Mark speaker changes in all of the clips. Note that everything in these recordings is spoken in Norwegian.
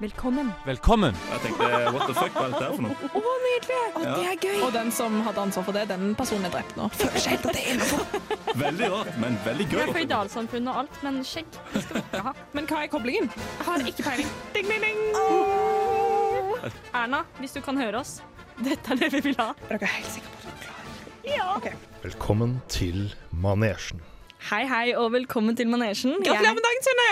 Speaker 1: Velkommen.
Speaker 2: Velkommen!
Speaker 3: Jeg tenkte what the fuck, hva er dette her for noe?
Speaker 4: Å, nydelig! Det er gøy. Og den som hadde ansvar for det, den personen er drept nå. Føler seg helt at det er innenfor.
Speaker 3: Veldig rart, men veldig gøy.
Speaker 1: Det er føydalsamfunn og alt, men skjegg det skal vi ikke ha.
Speaker 4: Men hva er koblingen?
Speaker 1: Jeg har ikke peiling.
Speaker 4: Ding, ding, ding.
Speaker 1: Erna, hvis du kan høre oss, dette er det vi vil ha.
Speaker 4: Er dere helt sikre på at dere er klare?
Speaker 5: Velkommen til Manesjen.
Speaker 1: Hei, hei, og velkommen til manesjen.
Speaker 4: Gratulerer med dagen, Synne!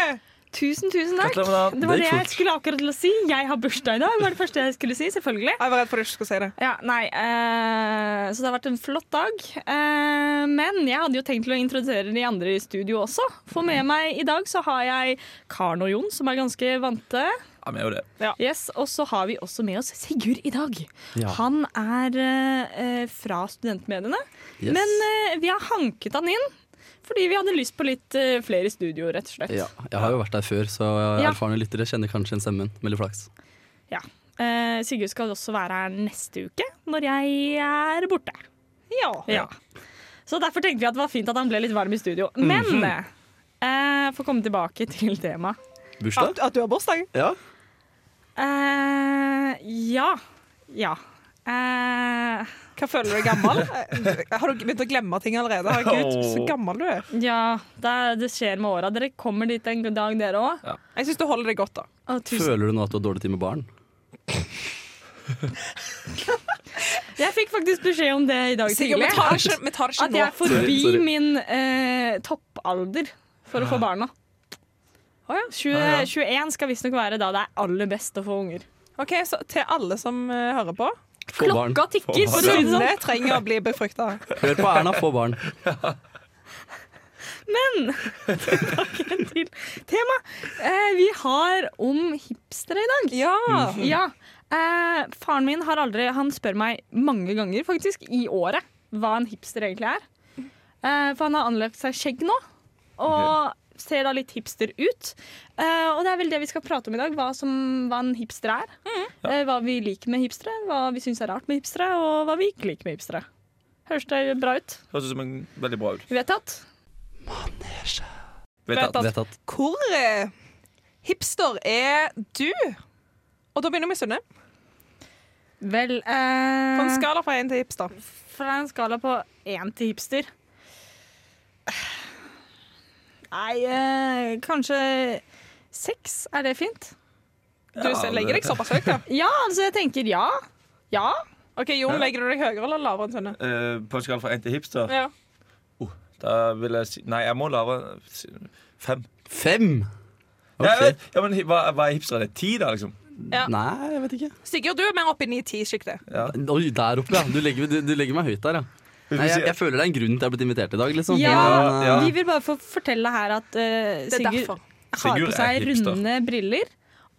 Speaker 1: Tusen, tusen takk.
Speaker 2: Gratulerer med dagen.
Speaker 1: Det var
Speaker 2: Det
Speaker 1: det
Speaker 2: gikk
Speaker 1: jeg
Speaker 2: fort.
Speaker 1: skulle akkurat til å si. Jeg har bursdag i dag, var det første jeg skulle si, selvfølgelig.
Speaker 4: Jeg var redd for at du ikke skulle si det.
Speaker 1: Ja, nei, eh, så det har vært en flott dag. Eh, men jeg hadde jo tenkt til å introdusere de andre i studio også. For med meg i dag så har jeg Karen og Jon, som er ganske vante.
Speaker 2: Ja, vi er jo det.
Speaker 1: Yes, Og så har vi også med oss Sigurd i dag.
Speaker 2: Ja.
Speaker 1: Han er eh, eh, fra studentmediene.
Speaker 2: Yes.
Speaker 1: Men eh, vi har hanket han inn fordi vi hadde lyst på litt eh, flere i studio, rett og slett.
Speaker 6: Ja, jeg har jo vært der før, så
Speaker 1: Ja.
Speaker 6: erfarne lyttere kjenner kanskje igjen stemmen. Veldig flaks.
Speaker 1: Eh, Sigurd skal også være her neste uke, når jeg er borte. Ja. Så derfor tenkte vi at det var fint at han ble litt varm i studio. Men eh, for å komme tilbake til temaet.
Speaker 4: At, at du har bursdag?
Speaker 6: Ja.
Speaker 1: Eh, ja. Ja. Eh,
Speaker 4: Hva føler du deg gammel? Har du begynt å glemme ting allerede? Herregud, så gammel du er.
Speaker 1: ja. Det, er- det skjer med åra. Dere kommer dit en dag, dere òg.
Speaker 4: Jeg syns du holder deg godt, da.
Speaker 6: Føler du nå at du har dårlig tid med barn?
Speaker 1: Jeg fikk faktisk beskjed om det i dag
Speaker 4: Sigurd,
Speaker 1: tidlig.
Speaker 4: vi tar det ikke, vi tar
Speaker 1: At
Speaker 4: det
Speaker 1: jeg
Speaker 4: ikke
Speaker 1: er
Speaker 4: nå.
Speaker 1: forbi
Speaker 2: Sorry, sorry.
Speaker 1: min eh, toppalder for
Speaker 6: Ah.
Speaker 1: å få barna. Å ja. 20, 21 skal visstnok være da det er aller best å få unger.
Speaker 4: Ok, så Til alle som eh, hører på
Speaker 6: Få barn.
Speaker 1: Klokka tikker, for å si det
Speaker 4: Sunne
Speaker 1: sånn.
Speaker 4: trenger å bli befrukta.
Speaker 6: Hør på Erna, få barn.
Speaker 1: Til tema. Eh, vi har om hipstere i dag. Mhm.
Speaker 4: Ja!
Speaker 1: Ja. Eh, faren min har aldri Han spør meg mange ganger faktisk i året hva en hipster egentlig er. Eh, for han har anlagt seg skjegg nå, og ser da litt hipster ut. Eh, og det er vel det vi skal prate om i dag, hva, som, hva en hipster er. Eh, hva vi liker med hipstere, hva vi syns er rart med hipstere, og hva vi ikke liker med hipstere. Høres det bra ut?
Speaker 2: Høres ut som en veldig bra ut.
Speaker 1: Vedtatt?
Speaker 2: Vet at.
Speaker 6: Vet at
Speaker 4: Hvor eh, hipster er du? Og da begynner vi med Sunne.
Speaker 1: Vel
Speaker 4: På en skala fra én til hipster.
Speaker 1: Fra en skala på én til hipster Nei, eh, kanskje seks? Er det fint?
Speaker 4: Du
Speaker 2: Ja,
Speaker 4: legger
Speaker 2: det-
Speaker 4: deg såpass høyt, ja.
Speaker 1: Ja, altså, jeg tenker ja. Ja.
Speaker 4: Ok, Jon, legger du deg høyere eller lavere enn Sunne?
Speaker 2: Eh, på en skala fra 1 til hipster
Speaker 4: Ja.
Speaker 2: Da vil jeg si Nei, jeg må lavere. si- Fem.
Speaker 6: Fem!
Speaker 2: Ja, jeg
Speaker 6: Ok.
Speaker 2: vet, ja, men hi- hva, hva er hipstere? Ti, da, liksom?
Speaker 4: Ja.
Speaker 6: Nei, jeg vet ikke.
Speaker 4: Sigurd, du er mer oppe i 9-10-sjiktet.
Speaker 6: Oi, der oppe, ja. Du legger, du, du legger meg høyt der, ja.
Speaker 2: Hvis vi
Speaker 6: Nei, jeg,
Speaker 2: sier-
Speaker 6: jeg føler det er en grunn til at jeg er blitt invitert i dag, liksom.
Speaker 1: Ja,
Speaker 6: Men,
Speaker 2: ja.
Speaker 1: Vi vil bare få fortelle her at eh,
Speaker 4: Det er
Speaker 1: Sigurd
Speaker 4: derfor.
Speaker 1: har
Speaker 2: Sigurd
Speaker 1: på
Speaker 2: er
Speaker 1: seg
Speaker 2: hipster.
Speaker 1: runde briller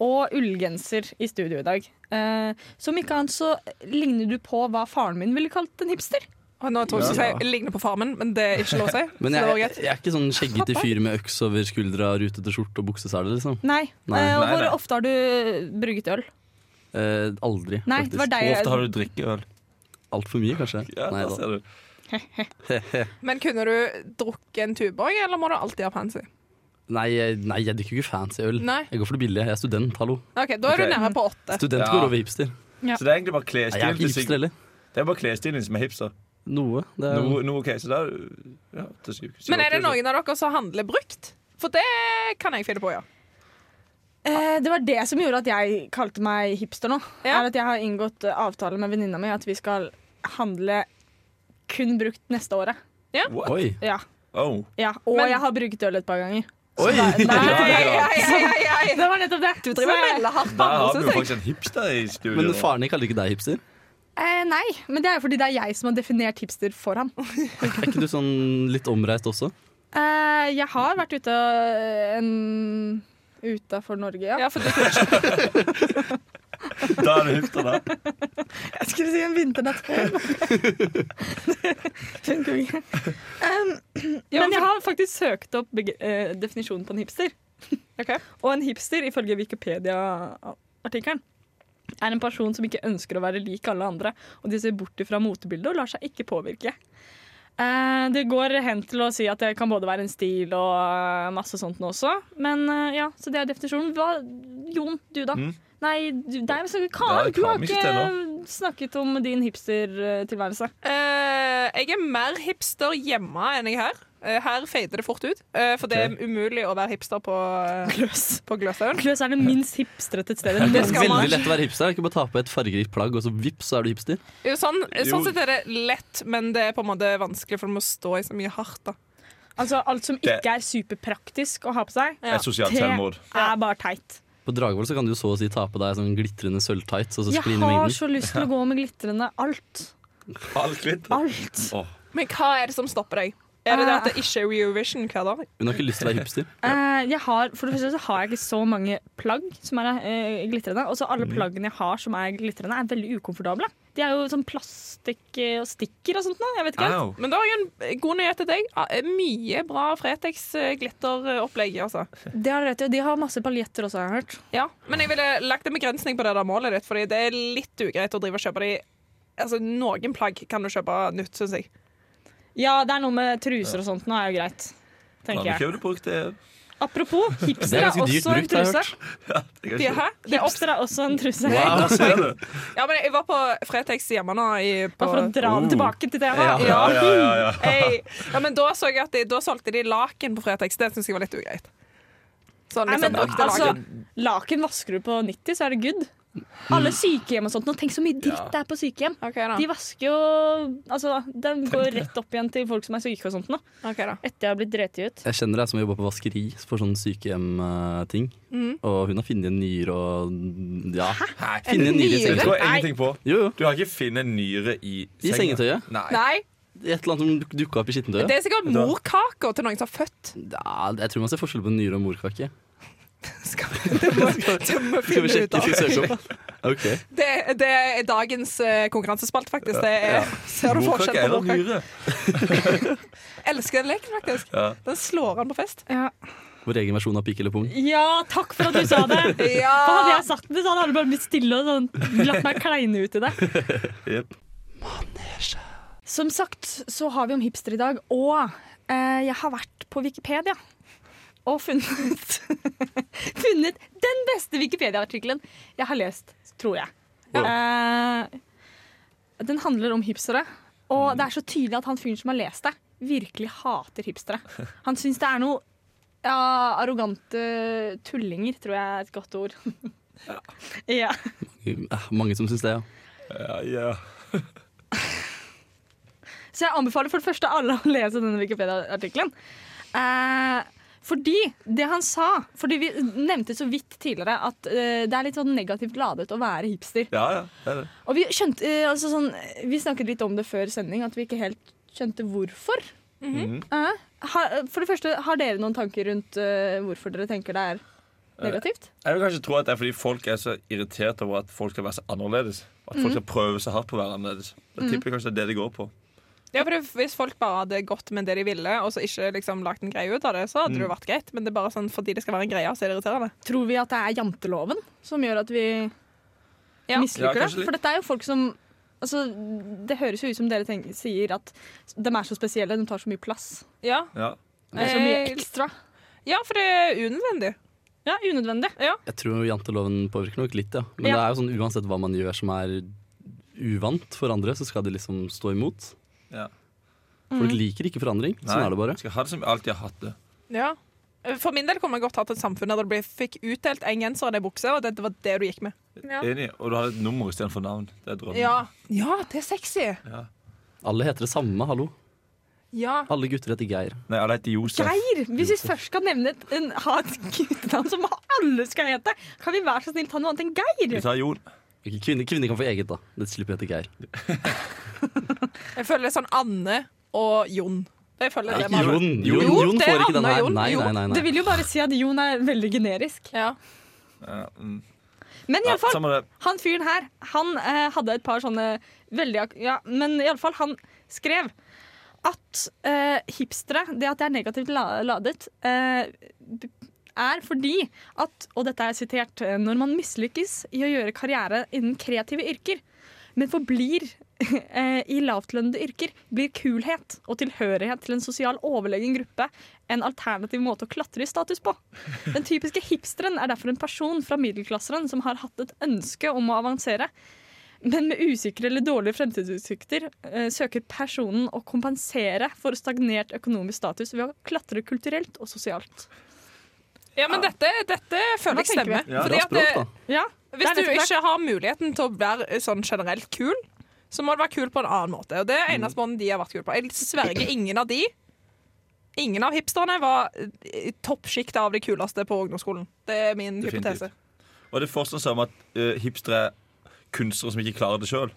Speaker 1: og ullgenser i studio i dag. Eh, som ikke annet så ligner du på hva faren min ville kalt en hipster.
Speaker 4: Og nå tror jeg
Speaker 6: Ja.
Speaker 4: jeg jeg ligner på farmen, men det er ikke lov å si. så det
Speaker 6: Men jeg,
Speaker 4: var
Speaker 6: jeg,
Speaker 4: greit.
Speaker 6: jeg er ikke sånn skjeggete fyr med øks over skuldra, rutete skjorte og buksesele, liksom.
Speaker 1: Nei.
Speaker 6: Nei.
Speaker 1: Eh, og
Speaker 2: Nei,
Speaker 1: hvor
Speaker 2: nei.
Speaker 1: ofte har du brygget øl?
Speaker 6: Eh, aldri,
Speaker 1: Nei, det var
Speaker 2: Hvor
Speaker 6: faktisk.
Speaker 1: deg.
Speaker 2: ofte har du drikkeøl?
Speaker 6: Altfor mye, kanskje.
Speaker 2: Ja,
Speaker 6: Nei
Speaker 2: da
Speaker 6: da.
Speaker 2: ser du.
Speaker 4: Men kunne du drukket en tuborg, eller må du alltid ha fancy?
Speaker 6: Nei, jeg- nei, jeg drikker jo ikke fancy øl.
Speaker 4: Nei.
Speaker 6: Jeg går for det billige. Jeg er student, hallo.
Speaker 4: Ok, Da er
Speaker 2: Ok.
Speaker 4: du nærmere på åtte.
Speaker 6: Student
Speaker 2: Ja.
Speaker 6: går over hipster.
Speaker 1: Ja.
Speaker 2: Så det er egentlig bare
Speaker 6: Nei, jeg er
Speaker 2: klesstilen
Speaker 6: ikke
Speaker 2: til
Speaker 6: hipster
Speaker 2: Sigurd.
Speaker 6: heller.
Speaker 2: Det er bare klesstilen din som er hipster.
Speaker 6: Noe. Det er,
Speaker 2: Noe, noe, ok, så da ja, til syv- syv-
Speaker 4: Men er det
Speaker 2: syv-
Speaker 4: noen av dere som handler brukt? For det kan jeg finne på, ja.
Speaker 1: Eh, det var det som gjorde at jeg kalte meg hipster nå.
Speaker 4: Ja.
Speaker 1: Er at Jeg har inngått eh, avtale med venninna mi at vi skal handle kun brukt neste året.
Speaker 2: What?
Speaker 6: Oi.
Speaker 1: Ja.
Speaker 2: Oh.
Speaker 1: ja. Og
Speaker 4: Men-
Speaker 1: jeg har brygget øl et par ganger.
Speaker 6: Oi!
Speaker 1: Nei,
Speaker 4: Ei, ei, ei, ei.
Speaker 1: det var nettopp det. Du
Speaker 4: Driver og melder hardt på
Speaker 2: Der
Speaker 4: andre,
Speaker 2: har vi jo
Speaker 4: synes jeg.
Speaker 2: faktisk en hipster i studio.
Speaker 6: Men
Speaker 2: nå.
Speaker 6: faren din kaller ikke deg hipster?
Speaker 1: Eh, nei, men det er jo fordi det er jeg som har definert hipster for ham.
Speaker 6: Er ikke du sånn litt omreist også?
Speaker 1: Eh, jeg har vært ute øh, en Utafor Norge, ja.
Speaker 4: Ja, for du kunne ikke
Speaker 2: Da er du hipster, da.
Speaker 1: Jeg skulle si en vinternatt. Skjønner du ikke? um,
Speaker 4: Ja,
Speaker 1: men jeg
Speaker 4: for-
Speaker 1: har faktisk søkt opp beg- eh, definisjonen på en hipster.
Speaker 4: Ok.
Speaker 1: Og en hipster, ifølge Wikipedia-artikkelen, er en person som ikke ønsker å være lik alle andre, og de ser bort ifra motebildet og lar seg ikke påvirke. Eh, det går hen til å si at det kan både være en stil og eh, masse sånt nå også. Men eh, ja, så det er definisjonen. Hva, Jon, du da?
Speaker 3: Mm.
Speaker 1: Nei, du, nei, men så,
Speaker 2: Da
Speaker 1: Karen,
Speaker 2: er
Speaker 1: du har
Speaker 2: Karen ikke
Speaker 1: ikke
Speaker 2: til
Speaker 1: snakket om din hipstertilværelse.
Speaker 4: Eh, jeg er mer hipster hjemme enn jeg er her. Eh, her fader det fort ut, eh, for det er umulig å være hipster på, eh,
Speaker 1: Gløs.
Speaker 4: på Gløshaugen.
Speaker 1: Gløs er det minst hipstrete stedet.
Speaker 4: Det skal man.
Speaker 6: Veldig lett å være hipster. Ikke bare ta på et fargerikt plagg, og så vips, så er du hipster.
Speaker 4: Jo, Sånn,
Speaker 3: Jo.
Speaker 4: sånn sett er det lett, men det er på en måte vanskelig, for du må stå i så mye hardt. da
Speaker 1: Altså, alt som
Speaker 2: Det-
Speaker 1: ikke er superpraktisk å ha på seg,
Speaker 4: Ja.
Speaker 2: Et sosialt
Speaker 1: Tre.
Speaker 2: selvmord.
Speaker 1: er bare teit.
Speaker 6: På Dragvoll så kan du jo så å si ta på deg sånn glitrende sølvtights og så
Speaker 1: Jeg
Speaker 6: skline
Speaker 1: har
Speaker 6: mengden.
Speaker 1: så lyst til å gå med glitrende alt.
Speaker 2: Alt hvitt.
Speaker 1: Alt.
Speaker 4: Men hva er det som stopper deg? Er det det at det ikke er Reovision hver dag?
Speaker 6: Hun har ikke lyst til å være hipster.
Speaker 1: Eh, jeg har, for det første så har jeg ikke så mange plagg som er eh, glitrende. Og så alle
Speaker 6: Mm.
Speaker 1: plaggene jeg har som er glitrende, er veldig ukomfortable. De er jo sånn plastikk eh, og stikker og sånt noe. Jeg vet
Speaker 6: Ah,
Speaker 1: ikke.
Speaker 2: Au.
Speaker 4: Men da har jeg en god nyhet til deg. Ah, Mye bra Fretex-glitteropplegg. Altså.
Speaker 1: Det har dere rett i, og de har masse paljetter også, har jeg hørt.
Speaker 4: Ja. Men jeg ville lagt en begrensning på det der målet ditt, Fordi det er litt ugreit å drive og kjøpe de Altså, Noen plagg kan du kjøpe nytt, syns jeg.
Speaker 1: Ja, det er noe med truser og sånt nå er jo greit.
Speaker 2: Hva
Speaker 1: Tenker jeg.
Speaker 2: har du brukt det?
Speaker 1: Apropos,
Speaker 6: Det
Speaker 1: hipster
Speaker 6: er
Speaker 1: er
Speaker 6: ganske dyrt
Speaker 1: også en
Speaker 6: brukt, har jeg
Speaker 1: truse.
Speaker 6: hørt.
Speaker 2: Jeg
Speaker 4: De,
Speaker 2: har ikke-
Speaker 4: hæ? Det er opp-
Speaker 1: Hipster er også en truse.
Speaker 6: Wow.
Speaker 4: ja, men jeg var på Fretex hjemme nå i på,
Speaker 1: Bare for å dra det tilbake til temaet.
Speaker 4: ja.
Speaker 2: Ja, ja, ja, ja.
Speaker 4: Hey. ja, men da så jeg at de, da solgte de laken på Fretex. Det syns jeg var litt ugreit. Sånn,
Speaker 1: Nei,
Speaker 4: liksom,
Speaker 1: men
Speaker 4: brukte
Speaker 1: altså,
Speaker 4: laken.
Speaker 1: Laken vasker du på 90, så er det good. Alle sykehjem og sånt. Nå, tenk så mye dritt
Speaker 2: Ja.
Speaker 1: det er på sykehjem.
Speaker 4: OK, da.
Speaker 1: De vasker jo Altså, den går rett opp igjen til folk som er syke og sånt nå.
Speaker 4: Ok, da.
Speaker 1: Etter jeg har blitt dreti ut.
Speaker 6: Jeg kjenner deg som jobber på vaskeri for sånn sykehjemting.
Speaker 4: Mm.
Speaker 6: Og hun har funnet en nyre og ja. Funnet en nyre i
Speaker 2: Det
Speaker 6: sengetøyet.
Speaker 2: tror jeg ingenting på.
Speaker 6: Jo, jo.
Speaker 2: Du har ikke funnet nyre i
Speaker 6: I sengetøyet.
Speaker 2: Nei.
Speaker 4: Nei,
Speaker 6: Et eller annet som dukka opp i
Speaker 4: det
Speaker 6: skittentøyet.
Speaker 4: er sikkert morkaker til noen som har født.
Speaker 6: Ja, jeg tror man ser forskjell på nyre og morkake.
Speaker 4: Skal vi, det må, det må vi
Speaker 6: Skal
Speaker 4: finne
Speaker 6: vi
Speaker 4: ut
Speaker 6: sjekke?
Speaker 4: av.
Speaker 6: Skal vi søke opp? sånn? Ok.
Speaker 4: Det, det er dagens eh, konkurransespalt, faktisk. Det er, Ser du
Speaker 2: Morkake
Speaker 4: forskjell
Speaker 2: er
Speaker 4: på
Speaker 2: en
Speaker 4: morkaker?
Speaker 2: nyre.
Speaker 4: Elsker den leken, faktisk.
Speaker 2: Ja.
Speaker 4: Den slår an på fest.
Speaker 1: Ja.
Speaker 6: Vår egen versjon av pikk eller pung.
Speaker 1: takk for at du sa det! For hadde
Speaker 4: Ja!
Speaker 1: jeg sagt det, så hadde alle bare blitt stille og sånn, latt meg kleine ut i det.
Speaker 2: Jep.
Speaker 1: Som sagt så har vi om hipster i dag, og eh, jeg har vært på Wikipedia og funnet Funnet den beste Wikipedia-artikkelen jeg har lest, tror jeg. Eh, den handler om hipstere, og det er så tydelig at han fyren som har lest det, virkelig hater hipstere. Han syns det er noe ja, arrogante tullinger, tror jeg er et godt ord. ja.
Speaker 6: Eh, Mange som syns det, ja.
Speaker 2: Ja, ja.
Speaker 1: Så jeg anbefaler for det første alle å lese denne Wikipedia-artikkelen. Eh, fordi det han sa Fordi vi nevnte så vidt tidligere at eh, det er litt sånn negativt ladet å være hipster.
Speaker 2: ja, ja. Det er det.
Speaker 1: Og vi skjønte eh, altså sånn Vi snakket litt om det før sending, at vi ikke helt skjønte hvorfor.
Speaker 2: Mhm.
Speaker 1: Eh, har- for det første, har dere noen tanker rundt eh, hvorfor dere tenker det er
Speaker 2: Eh,
Speaker 1: negativt?
Speaker 2: Jeg vil kanskje tro at det er fordi folk er så irritert over at folk skal være så annerledes. At folk skal prøve så hardt på å være annerledes. Da tipper jeg kanskje det er det de går på.
Speaker 4: ja for det, hvis folk bare hadde gått med det de ville, og så ikke liksom lagt en greie ut av det, så hadde det
Speaker 2: Mm.
Speaker 4: jo vært greit. Men det er bare sånn fordi det skal være en greie, så er det irriterende.
Speaker 1: Tror vi at det er janteloven som gjør at vi
Speaker 4: Ja.
Speaker 1: misliker
Speaker 2: Ja, kanskje
Speaker 1: det?
Speaker 2: litt.
Speaker 1: For dette er jo folk som altså, Det høres jo ut som dere tenker, sier at de er så spesielle, de tar så mye plass.
Speaker 4: Ja,
Speaker 2: Ja.
Speaker 1: Det er så mye
Speaker 4: Eh,
Speaker 1: ekstra.
Speaker 4: ja for det er unødvendig.
Speaker 1: Ja, unødvendig.
Speaker 6: Jeg tror janteloven påvirker nok litt, ja. Men
Speaker 1: Ja.
Speaker 6: det er jo sånn uansett hva man gjør som er uvant for andre, så skal det liksom stå imot.
Speaker 2: Ja.
Speaker 4: Mm.
Speaker 6: Folk liker ikke forandring. Sånn
Speaker 2: Nei,
Speaker 6: er det bare.
Speaker 2: Skal ha det som jeg alltid har hatt det.
Speaker 4: Ja. For min del kunne jeg godt hatt et samfunn der det ble, fikk utdelt en genser og en bukse, og det var det du gikk med. Ja.
Speaker 2: Enig. Og du har et nummer istedenfor navn. Det er drømmen.
Speaker 4: Ja. ja, det er sexy.
Speaker 6: Alle heter det samme, hallo.
Speaker 4: Ja.
Speaker 6: Alle gutter heter Geir.
Speaker 2: Nei, alle heter Josef.
Speaker 1: Geir! Hvis vi først skal nevne et, en, ha et guttenavn som alle skal hete, kan vi være så snill ta noe annet enn
Speaker 2: Vi
Speaker 1: Geir?
Speaker 2: tar Jon.
Speaker 6: Ikke Kvinner, kvinner kan få eget, da. Det slipper å hete Geir.
Speaker 4: Jeg føler sånn Anne og Jon. Jeg føler det
Speaker 6: Jon, Jon,
Speaker 4: Jo,
Speaker 6: Jon,
Speaker 4: det er
Speaker 6: får ikke
Speaker 4: Anne
Speaker 6: den
Speaker 4: og
Speaker 6: her.
Speaker 4: Jon.
Speaker 6: Nei, nei, nei,
Speaker 1: Det
Speaker 6: nei.
Speaker 1: vil jo bare si at Jon er veldig generisk.
Speaker 4: Ja.
Speaker 2: Ja, mm.
Speaker 1: Men
Speaker 2: ja,
Speaker 1: iallfall,
Speaker 2: samme det.
Speaker 1: Han fyren her, han eh, hadde et par sånne veldig ak Ja, men iallfall, han skrev at eh, hipstere, det at det er negativt la ladet, eh, b- er fordi at, og dette er sitert, eh, når man mislykkes i å gjøre karriere innen kreative yrker, men forblir eh, i lavtlønnede yrker, blir kulhet og tilhørighet til en sosial overlegen gruppe en alternativ måte å klatre i status på. Den typiske hipsteren er derfor en person fra middelklasseren som har hatt et ønske om å avansere, men med usikre eller dårlige fremtidsutsikter eh, søker personen å kompensere for stagnert økonomisk status ved å klatre kulturelt og sosialt.
Speaker 4: Ja, men dette, dette føler
Speaker 1: Hva
Speaker 4: jeg
Speaker 1: tenker vi?
Speaker 4: stemmer.
Speaker 2: Ja.
Speaker 4: Fordi
Speaker 6: Bra
Speaker 4: at eh,
Speaker 6: språk, da.
Speaker 1: Ja, Det
Speaker 4: Hvis du
Speaker 1: er nettopp det.
Speaker 4: ikke har muligheten til å være sånn generelt kul, så må du være kul på en annen måte. Og det er eneste måten de har vært kul på. Jeg sverger ingen av de Ingen av hipsterne var eh, toppsjikt av de kuleste på ungdomsskolen. Det er min
Speaker 2: Definitivt.
Speaker 4: hypotese.
Speaker 2: Og det er fortsatt som at eh, hipstere er kunstnere som ikke klarer det sjøl.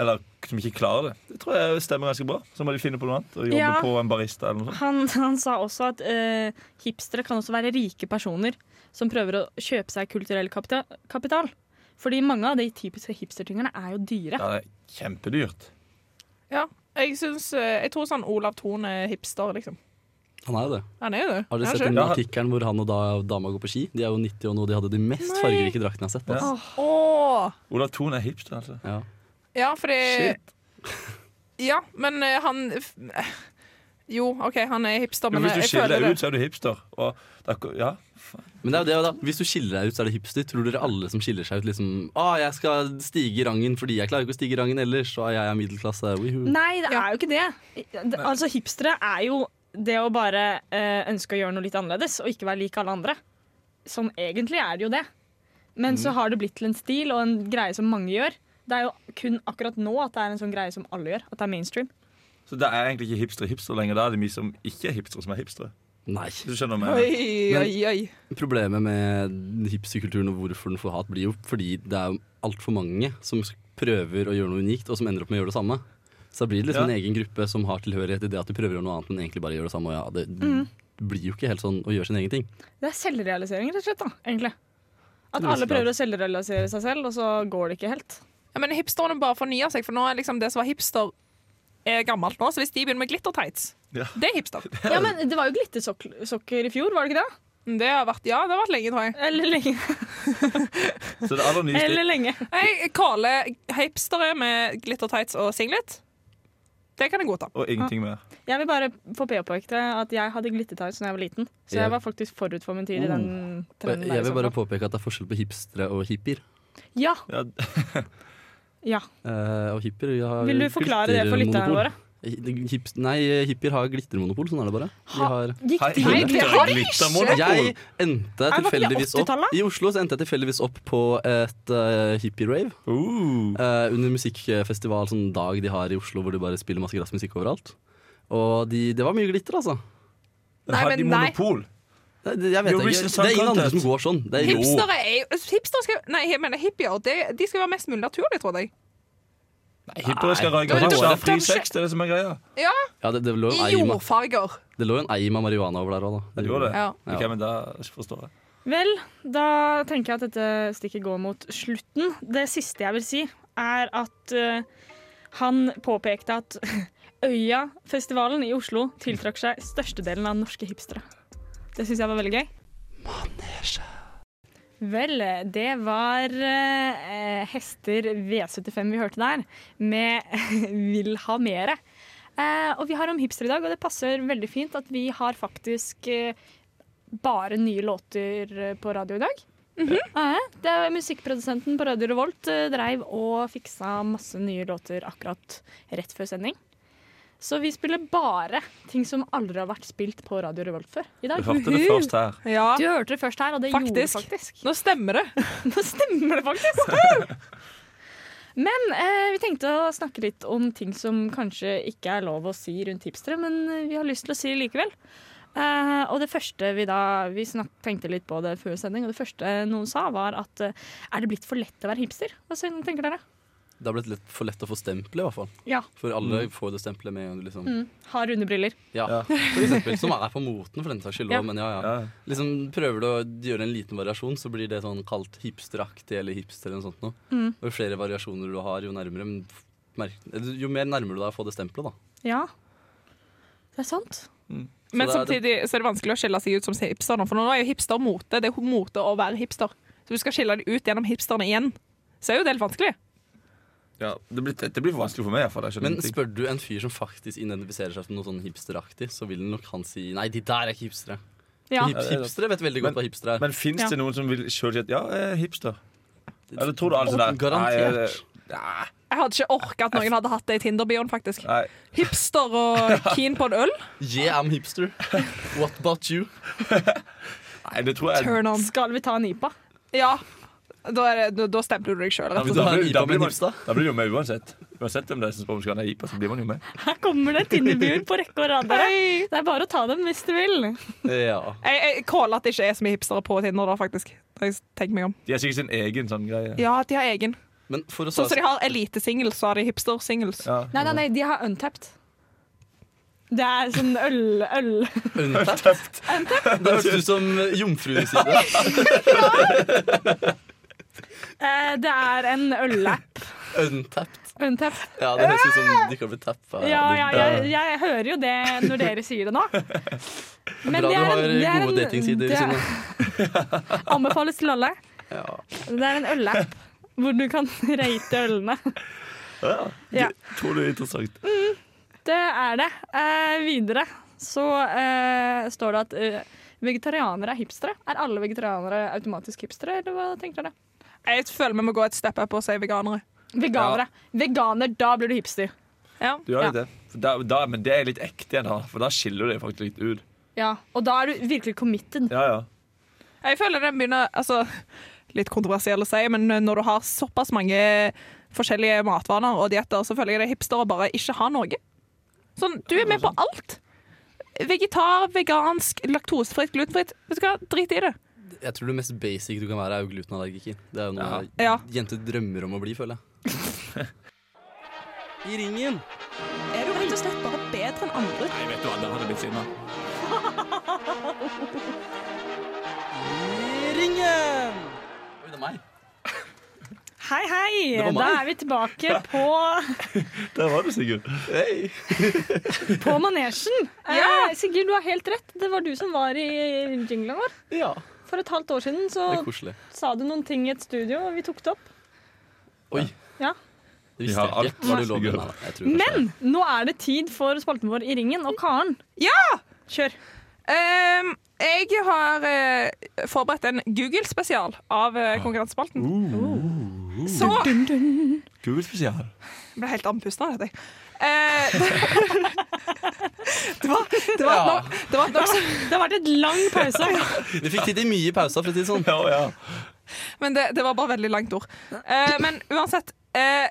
Speaker 2: Eller som ikke klarer det. Det tror jeg stemmer ganske bra. Så må de finne på noe annet og jobbe
Speaker 1: Ja.
Speaker 2: på en barista eller noe sånt.
Speaker 1: Han, han sa også at eh, hipstere kan også være rike personer som prøver å kjøpe seg kulturell kapita kapital. Fordi mange av de typiske hipstertingene er jo dyre.
Speaker 2: Ja, det er kjempedyrt.
Speaker 4: Ja. Jeg, syns, eh, jeg tror sånn Olav Thon er hipster, liksom.
Speaker 6: Han er jo det.
Speaker 4: Han er jo det.
Speaker 6: Har
Speaker 4: Han
Speaker 6: dere
Speaker 4: er
Speaker 6: sett
Speaker 4: ikke-
Speaker 6: den
Speaker 2: Ja.
Speaker 6: artikkelen hvor han og da, dama går på ski? De er jo 90 og nå, de hadde de mest
Speaker 4: Nei.
Speaker 6: fargerike draktene jeg har sett. Altså.
Speaker 4: Åh.
Speaker 2: Olav Thon er hipster, altså.
Speaker 6: Ja.
Speaker 4: Ja, fordi
Speaker 2: Shit.
Speaker 4: Ja, men eh, han f- Jo, OK, han er hipster,
Speaker 2: Men
Speaker 4: men
Speaker 2: hvis
Speaker 4: jeg
Speaker 2: du skiller
Speaker 4: føler
Speaker 2: deg ut,
Speaker 4: det.
Speaker 2: så er du hipster. Og det er, akkur- ja,
Speaker 6: Men det er jo det, da. Hvis du skiller deg ut, så er det hipster. Tror dere alle som skiller seg ut, liksom ah, jeg skal stige i rangen fordi jeg klarer ikke å stige i rangen ellers, og jeg er middelklasse. Wihu.
Speaker 1: Nei, det
Speaker 4: Ja.
Speaker 1: er jo ikke det. det altså, hipstere er jo det å bare eh, ønske å gjøre noe litt annerledes og ikke være lik alle andre. Sånn egentlig er det jo det. Men så har det blitt til en stil og en greie som mange gjør. Det er jo kun akkurat nå at det er en sånn greie som alle gjør. At det er mainstream.
Speaker 2: så det er egentlig ikke hipster hipster lenger. Da er det vi som ikke er hipstere, som er hipstere.
Speaker 6: Nei.
Speaker 2: Hvis du skjønner hva jeg mener.
Speaker 4: Oi, oi, oi.
Speaker 6: Problemet med hipsterkulturen og hvorfor den får hat, blir jo fordi det er jo altfor mange som s- prøver å gjøre noe unikt, og som ender opp med å gjøre det samme. Så da blir det
Speaker 2: Ja.
Speaker 6: liksom en egen gruppe som har tilhørighet i det at de prøver å gjøre noe annet, men egentlig bare gjør det samme. Og ja, det
Speaker 1: Mm.
Speaker 6: blir jo ikke helt sånn å gjøre sin egen ting.
Speaker 1: Det er selvrealisering, rett og slett. da, egentlig. At
Speaker 6: Til en viss
Speaker 1: alle
Speaker 6: grad.
Speaker 1: prøver å selvrealisere seg selv, og så går det ikke helt.
Speaker 4: Ja, men hipsterne bare fornyer seg, for nå er liksom det som var hipster, er gammelt nå. Så hvis de begynner med glittertights,
Speaker 2: Ja.
Speaker 4: det er hipster.
Speaker 1: Ja, men Det var jo glittersokker i fjor, var det ikke det?
Speaker 4: Mm, Det har vært, ja, det har vært lenge, tror jeg.
Speaker 1: Eller lenge.
Speaker 2: Så det aller nyeste
Speaker 1: Eller lenge.
Speaker 4: Jeg kaller hipstere med glittertights og singlet. Det kan jeg godta.
Speaker 2: og ingenting mer.
Speaker 1: Jeg vil bare få påpeke det at jeg hadde glittertights da jeg var liten. Så
Speaker 6: Ja.
Speaker 1: jeg var faktisk forut for min tid i den
Speaker 6: Og
Speaker 1: trenden.
Speaker 6: jeg-
Speaker 1: der,
Speaker 6: Jeg
Speaker 1: i
Speaker 6: vil
Speaker 1: så
Speaker 6: bare
Speaker 1: fall.
Speaker 6: påpeke at det er forskjell på hipstere og hippier.
Speaker 1: Ja,
Speaker 2: Ja,
Speaker 1: ja.
Speaker 6: Eh, og hippier har
Speaker 1: Vil du forklare det for lytterne våre?
Speaker 6: glittermonopol. Hi- hips- nei, hippier har glittermonopol, sånn er det bare. De
Speaker 1: Ha-
Speaker 6: har
Speaker 1: Gikk
Speaker 2: Hei,
Speaker 1: de
Speaker 2: hei,
Speaker 1: det?
Speaker 2: glitter- glittermonopol.
Speaker 6: jeg endte
Speaker 1: det ikke
Speaker 6: tilfeldigvis opp
Speaker 1: 80-tallet?
Speaker 6: I Oslo så endte jeg tilfeldigvis opp på et uh, hippie-rave.
Speaker 2: Uh.
Speaker 6: eh, under musikkfestival, sånn dag de har i Oslo hvor de bare spiller masse grassmusikk overalt. Og de, det var mye glitter, altså.
Speaker 4: Nei,
Speaker 2: Har
Speaker 4: men
Speaker 2: de
Speaker 4: nei.
Speaker 2: monopol?
Speaker 6: Det, det, jeg vet ikke.
Speaker 2: Eurovision
Speaker 6: det er ingen
Speaker 2: Song
Speaker 6: andre
Speaker 2: Contest.
Speaker 6: som går sånn. Det er jo
Speaker 4: Hipstere er jo Hipstere skal Nei, jeg mener hippier. Det, de skal være mest mulig naturlig, tror jeg.
Speaker 2: Nei, Hippere skal røyke
Speaker 4: Men du-
Speaker 2: hasj og ha fri
Speaker 4: kanskje-
Speaker 2: sex, det er det som er greia.
Speaker 4: Ja,
Speaker 6: ja, det, det, lå en
Speaker 4: i
Speaker 6: eim, av-
Speaker 4: jordfarger.
Speaker 6: det lå jo en eim av marihuana over der òg, da.
Speaker 2: Det gjorde det.
Speaker 4: Ja.
Speaker 2: Ok, men da forstår jeg.
Speaker 1: Vel, da tenker jeg at dette stikket går mot slutten. Det siste jeg vil si, er at eh, han påpekte at Øyafestivalen i Oslo tiltrakk seg størstedelen av norske hipstere. Det syns jeg var veldig gøy. Vel, det var eh, Hester V75 vi hørte der, med Vil ha mere. Eh, og vi har om hipster i dag, og det passer veldig fint at vi har faktisk eh, bare nye låter eh, på radio i dag. Ja, det er Musikkprodusenten på Radio Revolt eh, dreiv og fiksa masse nye låter akkurat rett før sending. Så vi spiller bare ting som aldri har vært spilt på Radio Revolt før i dag.
Speaker 2: Du hørte det først her.
Speaker 4: Ja,
Speaker 1: Du hørte det først her, og det gjorde det
Speaker 4: Faktisk.
Speaker 1: faktisk.
Speaker 4: nå stemmer det.
Speaker 1: Nå stemmer det faktisk! Men eh, vi tenkte å snakke litt om ting som kanskje ikke er lov å si rundt hipstere, men eh, vi har lyst til å si likevel. Eh, og det første vi da Vi snak, tenkte litt på det før sending, og det første noen sa, var at eh, er det blitt for lett å være hipster? Hva syn- tenker dere?
Speaker 6: Det har blitt litt for lett å få stempelet, i hvert fall.
Speaker 1: Ja.
Speaker 6: For alle
Speaker 2: Mm.
Speaker 6: får jo det stempelet med en gang du liksom
Speaker 1: Har Mm. runde briller.
Speaker 6: Ja, for eksempel. Som er på moten, for den saks skyld.
Speaker 1: Ja.
Speaker 6: også, Men ja, ja.
Speaker 2: Ja.
Speaker 6: Liksom, prøver du å gjøre en liten variasjon, så blir det sånn kalt hipsteraktig eller hipster eller noe sånt noe.
Speaker 1: Mm.
Speaker 6: Og jo flere variasjoner du har, jo nærmere men f- merk, Jo mer nærmer du deg å få det stempelet, da.
Speaker 1: Ja. Det er sant.
Speaker 4: Men
Speaker 6: det er-
Speaker 4: samtidig så er det vanskelig å skille seg ut som hipster nå, for nå er jo hipster mote. Det er mote å være hipster. Så du skal skille det ut gjennom hipsterne igjen. Så er jo det litt vanskelig.
Speaker 2: Ja, det, blir, det blir for vanskelig for meg. i hvert fall. Jeg skjønner
Speaker 6: Men
Speaker 2: ingenting.
Speaker 6: spør du en fyr som faktisk identifiserer seg som noe sånn hipsteraktig, så vil nok han si nei, de der er ikke hipstere.
Speaker 1: Ja.
Speaker 6: Hip hipstere vet veldig godt hva hipstere er.
Speaker 2: Men fins
Speaker 1: Ja.
Speaker 2: det noen som vil sjøl si at ja, jeg er hipster? Eller tror du alle sånn der
Speaker 6: Garantert.
Speaker 2: Nei, jeg- nei,
Speaker 4: Jeg hadde ikke orka at noen hadde hatt det i Tinder-bioen, faktisk.
Speaker 2: nei.
Speaker 4: Hipster og keen på en øl.
Speaker 6: Yeah, I'm hipster. What about you?
Speaker 2: nei, det tror jeg
Speaker 4: Turn on.
Speaker 1: Skal vi ta en IPA?
Speaker 4: Ja. Da, er det, da- da stempler du deg sjøl.
Speaker 2: Da blir-
Speaker 6: Altså,
Speaker 2: da
Speaker 6: da er
Speaker 2: blir-
Speaker 6: IPA
Speaker 2: da blir
Speaker 6: med
Speaker 2: man-
Speaker 6: hipster.
Speaker 2: da blir du jo med uansett. Uansett om det er som spør om du skal ha IPA, så blir man jo med.
Speaker 1: Her kommer det Tinder-bioer på rekke og rad. dere. Det er bare å ta dem hvis du vil.
Speaker 6: Ja.
Speaker 4: Jeg, jeg caller at det ikke er så mye hipstere på Tinder, da, faktisk. Når jeg tenker meg om.
Speaker 2: De har sikkert sin egen sånn greie.
Speaker 4: Ja, de har egen.
Speaker 6: Men for å
Speaker 4: Sånn som
Speaker 6: svare-
Speaker 4: de har elitesingles, så har de hipster-singles.
Speaker 2: Ja.
Speaker 1: Nei, nei, nei, de har untapped. Det er sånn øl... øl.
Speaker 6: Untapped. Det hørtes ut som jomfruens side.
Speaker 1: Eh, det er en ølapp.
Speaker 6: Untapped.
Speaker 1: Untapped.
Speaker 6: Ja, det høres ut som de kan bli tappa.
Speaker 1: Ja, ja, jeg, jeg hører jo det når dere sier det nå. Men det
Speaker 6: Bra du
Speaker 1: er
Speaker 6: har
Speaker 1: en- det er
Speaker 6: gode
Speaker 1: en-
Speaker 6: datingsider.
Speaker 1: det er-
Speaker 6: Synne.
Speaker 1: Anbefales til alle.
Speaker 6: Ja.
Speaker 1: Det er en ølapp hvor du kan rate ølene. Ja.
Speaker 2: Tror du det er interessant?
Speaker 1: Det er det. Eh, videre så eh, står det at eh, vegetarianere er hipstere. Er alle vegetarianere automatisk hipstere, eller hva tenker dere?
Speaker 4: Jeg føler vi må gå et step up og si veganere.
Speaker 1: Veganere. Veganer, da blir du hipster.
Speaker 2: Du gjør
Speaker 1: Ja.
Speaker 2: litt det. For Da, da, men det er litt ekte igjen, da. For da skiller du deg faktisk litt ut.
Speaker 1: Ja, Og da er du virkelig committed.
Speaker 2: Ja, ja.
Speaker 4: Jeg føler den begynner altså, Litt kontroversiell å si, men når du har såpass mange forskjellige matvaner og dietter, så føler jeg det er hipster å bare ikke ha noe. Sånn, du er med på alt. Vegetar, vegansk, laktosefritt, glutenfritt. Vet du hva, drit i det.
Speaker 6: Jeg tror det mest basic du kan være, er jo glutenallergiker. Det er jo noe
Speaker 4: Ja.
Speaker 6: jenter drømmer om å bli, føler jeg. I ringen.
Speaker 4: Er du rett og slett bare bedre enn andre?
Speaker 3: Nei, vet du hva, det hadde blitt sinna.
Speaker 6: I ringen! Oi, det er meg.
Speaker 1: Hei, hei!
Speaker 6: Det var meg.
Speaker 1: Da er vi tilbake på,
Speaker 2: Der var du, Sigurd.
Speaker 6: Hey.
Speaker 1: på manesjen. Eh, Sigurd, du har helt rett. Det var du som var i jinglen vår.
Speaker 6: Ja.
Speaker 1: For et halvt år siden så
Speaker 6: Det er koselig.
Speaker 1: sa du noen ting i et studio, og vi tok det opp.
Speaker 6: Oi.
Speaker 1: Ja.
Speaker 6: Det
Speaker 2: Vi
Speaker 6: visste
Speaker 2: har
Speaker 6: jeg
Speaker 2: alt.
Speaker 6: ikke. Var det ulovlig?
Speaker 2: Herregud.
Speaker 6: Nei, jeg tror kanskje
Speaker 1: Men nå er det tid for spalten vår I ringen, og Karen.
Speaker 4: Ja!
Speaker 1: Kjør.
Speaker 4: Ehm, jeg har eh, forberedt en Google-spesial av eh, Konkurransespalten. Så
Speaker 2: Google spesial.
Speaker 4: Jeg ble helt andpusten av dette. Eh, det var, det var,
Speaker 6: Ja.
Speaker 4: nok, det var nok så
Speaker 1: Det har vært et lang pause.
Speaker 6: det. Vi fikk tid til mye i pausa, for å si det sånn.
Speaker 2: Ja, ja.
Speaker 4: Men det, det var bare veldig langt ord. Eh, men uansett. Eh,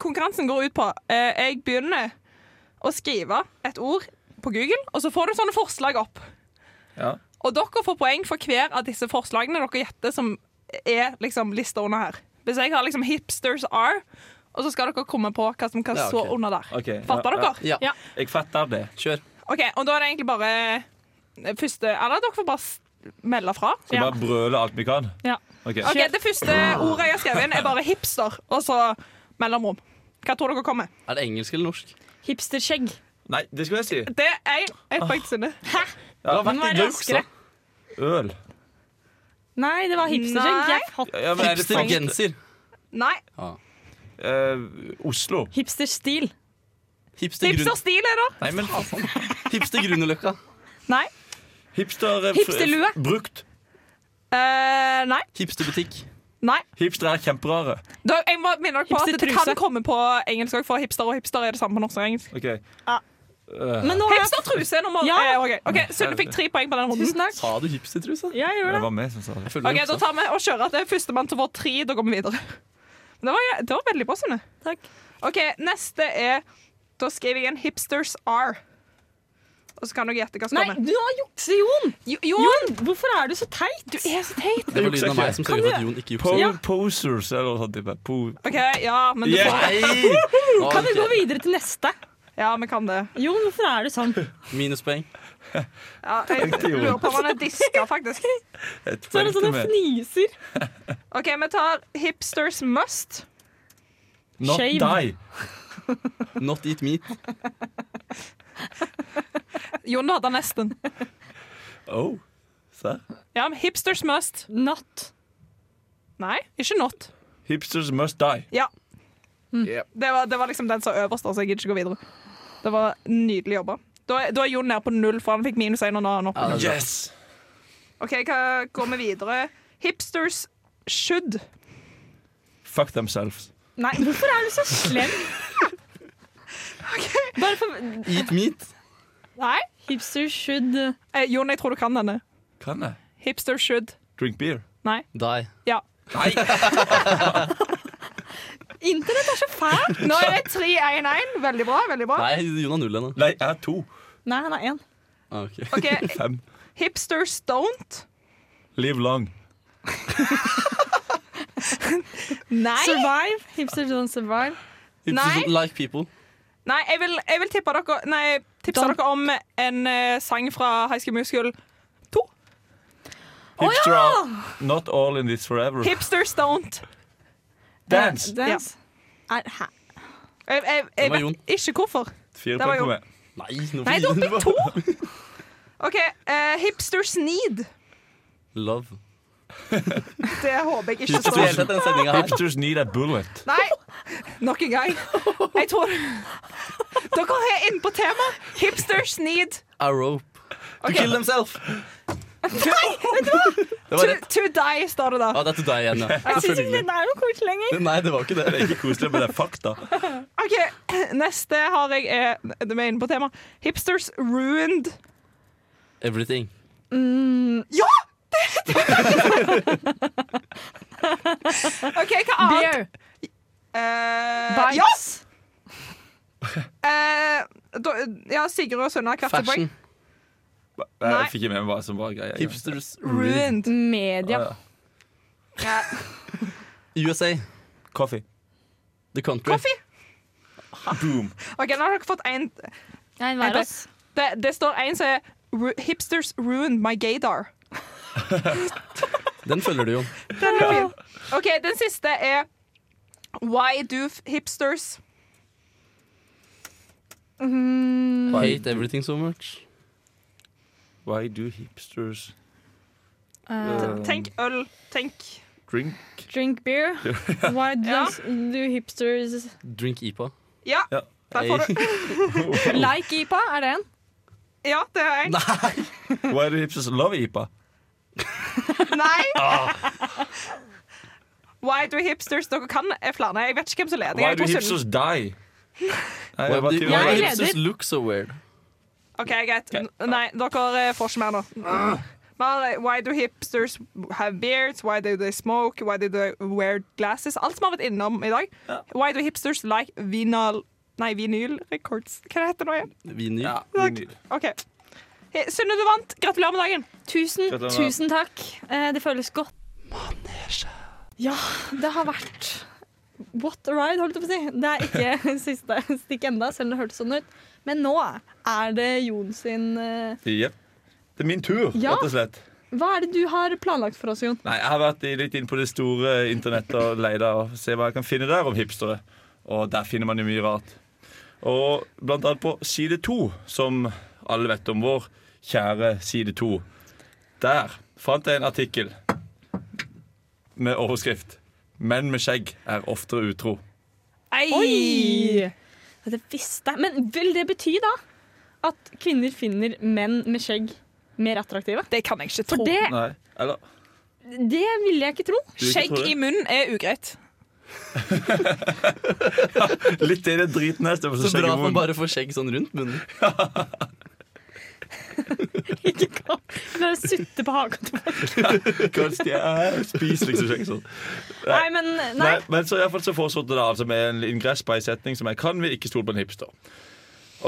Speaker 4: konkurransen går ut på eh, Jeg begynner å skrive et ord på Google, og så får du sånne forslag opp.
Speaker 2: Ja.
Speaker 4: Og dere får poeng for hver av disse forslagene dere gjetter som er liksom lista under her. Hvis jeg har liksom 'hipsters are', og så skal dere komme på hva som kan
Speaker 6: Ja, ok.
Speaker 4: stå under der.
Speaker 2: Ok, ja,
Speaker 4: Fatter
Speaker 2: ja.
Speaker 4: dere?
Speaker 6: Ja.
Speaker 1: Ja.
Speaker 2: Jeg fatter det.
Speaker 6: Kjør.
Speaker 4: OK, og da er det egentlig bare eh, første Eller dere får bare s- melde fra.
Speaker 2: Skal
Speaker 1: Ja.
Speaker 2: bare brøle alt vi kan?
Speaker 1: Ja.
Speaker 2: Ok.
Speaker 4: Ok, Det første ordet jeg har skrevet inn, er bare hipster, og så mellomrom. Hva tror dere kommer?
Speaker 6: Er det engelsk eller norsk?
Speaker 1: Hipsterskjegg.
Speaker 2: Nei, det skulle jeg si.
Speaker 4: Det er jeg helt faktisk inne.
Speaker 2: Ja,
Speaker 6: Det har vært
Speaker 1: må være
Speaker 6: i Gauk, så.
Speaker 1: raskere.
Speaker 2: Øl.
Speaker 1: Nei, det var hipsterskjegg.
Speaker 4: Nei.
Speaker 1: Jeg fatt-
Speaker 2: Ja, men er det sant?
Speaker 6: Hipstergenser.
Speaker 4: Nei.
Speaker 2: Eh, Oslo.
Speaker 1: Hipsterstil.
Speaker 6: Hipstergrunn-
Speaker 4: Hipsterstil er det.
Speaker 2: Nei, men faen.
Speaker 6: Hipstergrunnerløkka.
Speaker 4: Nei.
Speaker 2: Hipster eh, f-
Speaker 1: Hipsterlue.
Speaker 2: f- Brukt.
Speaker 4: Eh, nei.
Speaker 6: Hipsterbutikk.
Speaker 4: Nei.
Speaker 2: Hipstere er kjemperare.
Speaker 4: Da, jeg må minne dere på at det
Speaker 1: Hipstertruse.
Speaker 4: kan komme på engelsk òg, for hipster og hipster er det samme på norsk og engelsk.
Speaker 2: Ok. Eh,
Speaker 1: Men nå har jeg
Speaker 4: Hipstertruse er nummer
Speaker 1: Ja.
Speaker 4: eh, OK, okay Sunne fikk tre poeng på den runden.
Speaker 1: Tusen takk.
Speaker 6: Sa du hipstertruse?
Speaker 1: Jeg gjør
Speaker 2: det
Speaker 1: det.
Speaker 2: var meg som sa det.
Speaker 6: Jeg føler
Speaker 4: OK,
Speaker 6: det
Speaker 4: Da tar vi og kjører at det er førstemann til vår tre. Da går vi videre. Men Det var, det var veldig bra, Sunne.
Speaker 1: Takk.
Speaker 4: OK, neste er Da skriver jeg en 'hipsters are'. Og så kan dere gjette hva som
Speaker 1: Nei,
Speaker 4: kommer.
Speaker 1: du har jukse, Jon!
Speaker 4: Jon!
Speaker 1: Jon, hvorfor er du så teit? Du er så teit.
Speaker 6: Det var lyden av meg som sørger for at Jon ikke sånn. jukser.
Speaker 1: Ja.
Speaker 2: Posers eller noe sånt. type. Po
Speaker 4: OK, ja, men du
Speaker 2: Yeah.
Speaker 4: får,
Speaker 6: Nei!
Speaker 1: Kan vi gå videre til neste?
Speaker 4: ja, vi kan det.
Speaker 1: Jon, hvorfor er du sånn?
Speaker 6: Minuspoeng.
Speaker 4: Ja, jeg lurer på om han er diska, faktisk.
Speaker 2: jeg
Speaker 1: Så er det sånn
Speaker 2: tenkte
Speaker 1: og
Speaker 2: meg.
Speaker 1: fniser.
Speaker 4: OK, vi tar hipsters must.
Speaker 2: Not
Speaker 1: Shame.
Speaker 2: die.
Speaker 6: Not eat meat.
Speaker 4: Jon hadde han nesten.
Speaker 2: Oh. Se.
Speaker 4: Ja, men hipsters must.
Speaker 1: Not.
Speaker 4: Nei, ikke not.
Speaker 2: Hipsters must die.
Speaker 4: Ja. Det var, det var liksom den som var øverst, så jeg gidder ikke gå videre. Det var nydelig jobba. Da er, da er Jon nede på null, for han fikk minus én og nå er han oppe.
Speaker 6: Ja, det er bra.
Speaker 2: Yes!
Speaker 4: OK, hva går vi videre? Hipsters should.
Speaker 2: Fuck themselves.
Speaker 1: Nei, hvorfor er du så slem? Bare for
Speaker 6: Eat meat.
Speaker 4: Nei?
Speaker 1: Hipster should
Speaker 4: Eh, Jon, jeg tror du kan denne.
Speaker 2: Kan jeg?
Speaker 4: Hipster should.
Speaker 2: Drink beer.
Speaker 4: Nei.
Speaker 6: Die.
Speaker 4: Ja.
Speaker 1: Internett er så fæl!
Speaker 4: Nå er det 3-1-1. Veldig bra. veldig bra.
Speaker 6: Nei, Jon har null ennå.
Speaker 2: Nei, jeg har to.
Speaker 1: Nei, han er én.
Speaker 6: Ah, ok.
Speaker 4: Ok,
Speaker 2: Fem.
Speaker 4: Hipsters don't.
Speaker 2: Live long.
Speaker 4: Nei.
Speaker 1: Survive. Hipster don't survive.
Speaker 4: Nei.
Speaker 6: Hipsters don't sånn, like people.
Speaker 4: Nei, jeg vil, jeg vil tippe dere, nei, tipse
Speaker 1: Don't.
Speaker 4: dere om en eh, sang fra High School Musical 2.
Speaker 2: Hipster are not all in this forever.
Speaker 4: Hipsters don't.
Speaker 2: Dance.
Speaker 1: Dance. Er, hæ?
Speaker 4: Jeg, jeg,
Speaker 6: Det
Speaker 4: jeg
Speaker 6: var Jon.
Speaker 4: vet ikke hvorfor.
Speaker 2: Fire
Speaker 4: Det var
Speaker 2: poeng
Speaker 4: jo-
Speaker 2: på meg.
Speaker 6: Nei, nå
Speaker 4: Nei,
Speaker 6: får
Speaker 4: du
Speaker 6: Jon
Speaker 4: fikk
Speaker 6: bare-
Speaker 4: to. OK. eh, hipsters need.
Speaker 6: Love.
Speaker 4: Det håper jeg ikke
Speaker 6: Hipsters
Speaker 4: står.
Speaker 6: fortsett denne sendingen her.
Speaker 2: Hipsters need a bullet.
Speaker 4: Nei, nok en gang. Jeg tror Dere er inne på temaet. Hipsters need
Speaker 6: A rope.
Speaker 4: Ok.
Speaker 6: To kill themselves. Nei, vet du hva? Det
Speaker 4: to,
Speaker 6: var rett.
Speaker 4: to die, står det da.
Speaker 6: Ja, Ah, det er to deg igjen, ja.
Speaker 1: Jeg syns ikke
Speaker 6: Selvfølgelig.
Speaker 1: den er noe koselig lenger.
Speaker 6: Nei, det var ikke det.
Speaker 2: Det er ikke koselig, men det er fakta.
Speaker 4: OK, neste har jeg er, Vi er inne på temaet. Hipsters ruined.
Speaker 6: Everything.
Speaker 4: Ja! Det, det. OK, hva annet?
Speaker 1: Beer.
Speaker 4: Eh, ja!
Speaker 1: Bites.
Speaker 4: Eh, da, ja, Sigurd og Sunna hvert sitt poeng.
Speaker 6: Fashion.
Speaker 2: Jeg
Speaker 4: Nei.
Speaker 2: fikk ikke med meg hva som var greia.
Speaker 6: Hipsters. Rude.
Speaker 4: Ruined.
Speaker 1: Media.
Speaker 2: Ah, ja.
Speaker 4: Ja.
Speaker 6: USA.
Speaker 2: Coffee.
Speaker 6: The country.
Speaker 4: Coffee.
Speaker 2: Boom.
Speaker 4: OK, nå har dere fått én.
Speaker 1: Nei,
Speaker 4: vær
Speaker 1: vær
Speaker 4: oss. Det, det står én som er ru, Hipsters ruined my gaydar.
Speaker 6: Den følger du, Jon.
Speaker 4: Den er fin. OK, den siste er Why do f- hipsters Mm.
Speaker 6: Hate everything so much.
Speaker 2: Why do hipsters
Speaker 4: Eh,
Speaker 2: uh,
Speaker 4: T- Tenk øl. Tenk
Speaker 2: drink?
Speaker 1: Drink beer. Why
Speaker 4: Ja.
Speaker 1: does do hipsters
Speaker 6: Drink IPA.
Speaker 4: Ja,
Speaker 2: Ja.
Speaker 4: der får du.
Speaker 1: like IPA? Er det en?
Speaker 4: Ja, det er én.
Speaker 2: Why do hipsters love IPA? Ah.
Speaker 4: Nei! Why do hipsters Dere kan er flere. Jeg vet ikke hvem som leder.
Speaker 2: Why
Speaker 4: Jeg
Speaker 2: do
Speaker 4: tror Sunn-
Speaker 2: hipsters die? Nei, jeg
Speaker 6: Why
Speaker 2: var
Speaker 6: do
Speaker 2: til-
Speaker 1: Jeg
Speaker 6: why do
Speaker 1: leder.
Speaker 6: hipsters look so weird?
Speaker 4: OK, greit. N- Nei, dere eh, får ikke mer nå. Men, eh, Why do hipsters have beards? Why do they smoke? Why do they wear glasses? Alt som har vært innom i dag. Why do hipsters like vinyl Nei, vinyl records. Hva heter det nå igjen?
Speaker 6: Vinyl.
Speaker 2: Ja,
Speaker 4: OK. Eh, Synne, du vant. Gratulerer med dagen.
Speaker 1: Tusen,
Speaker 2: Gratulerer.
Speaker 1: tusen takk. Eh, Det føles godt. Ja, det har vært What a ride, holdt jeg på å si. Det er ikke siste stikk enda, selv om det hørtes sånn ut. Men nå er det Jon sin eh,
Speaker 2: Jep. Det er min tur,
Speaker 1: Ja.
Speaker 2: rett og slett.
Speaker 1: Hva er det du har planlagt for oss, Jon?
Speaker 2: Nei, Jeg har vært i- litt inn på det store internettet og leita og se hva jeg kan finne der om hipstere. Og der finner man jo mye rart. Og blant annet på side to, som alle vet om vår kjære side to. Der fant jeg en artikkel med overskrift 'Menn med skjegg er oftere utro'.
Speaker 1: Oi! Ja, Det visste jeg. Men vil det bety da at kvinner finner menn med skjegg mer attraktive?
Speaker 4: Det kan jeg ikke
Speaker 1: For
Speaker 4: tro.
Speaker 1: det,
Speaker 2: Nei, eller
Speaker 1: det ville jeg ikke tro.
Speaker 2: vil ikke
Speaker 4: Skjegg
Speaker 2: tro det.
Speaker 4: i munnen er ugreit.
Speaker 2: Litt i det driten her. Så,
Speaker 6: Så
Speaker 2: skjegg i
Speaker 6: bra at man
Speaker 2: munnen.
Speaker 6: bare får skjegg sånn rundt munnen.
Speaker 1: Ikke kan bare sutte på haka til folk.
Speaker 2: Kanskje de er spiser liksom skjegg sånn.
Speaker 1: Nei, men nei.
Speaker 2: Nei, men så, i hvert fall så foreslått det da altså med en ingress på en setning som er Kan vi ikke stole på en hipster?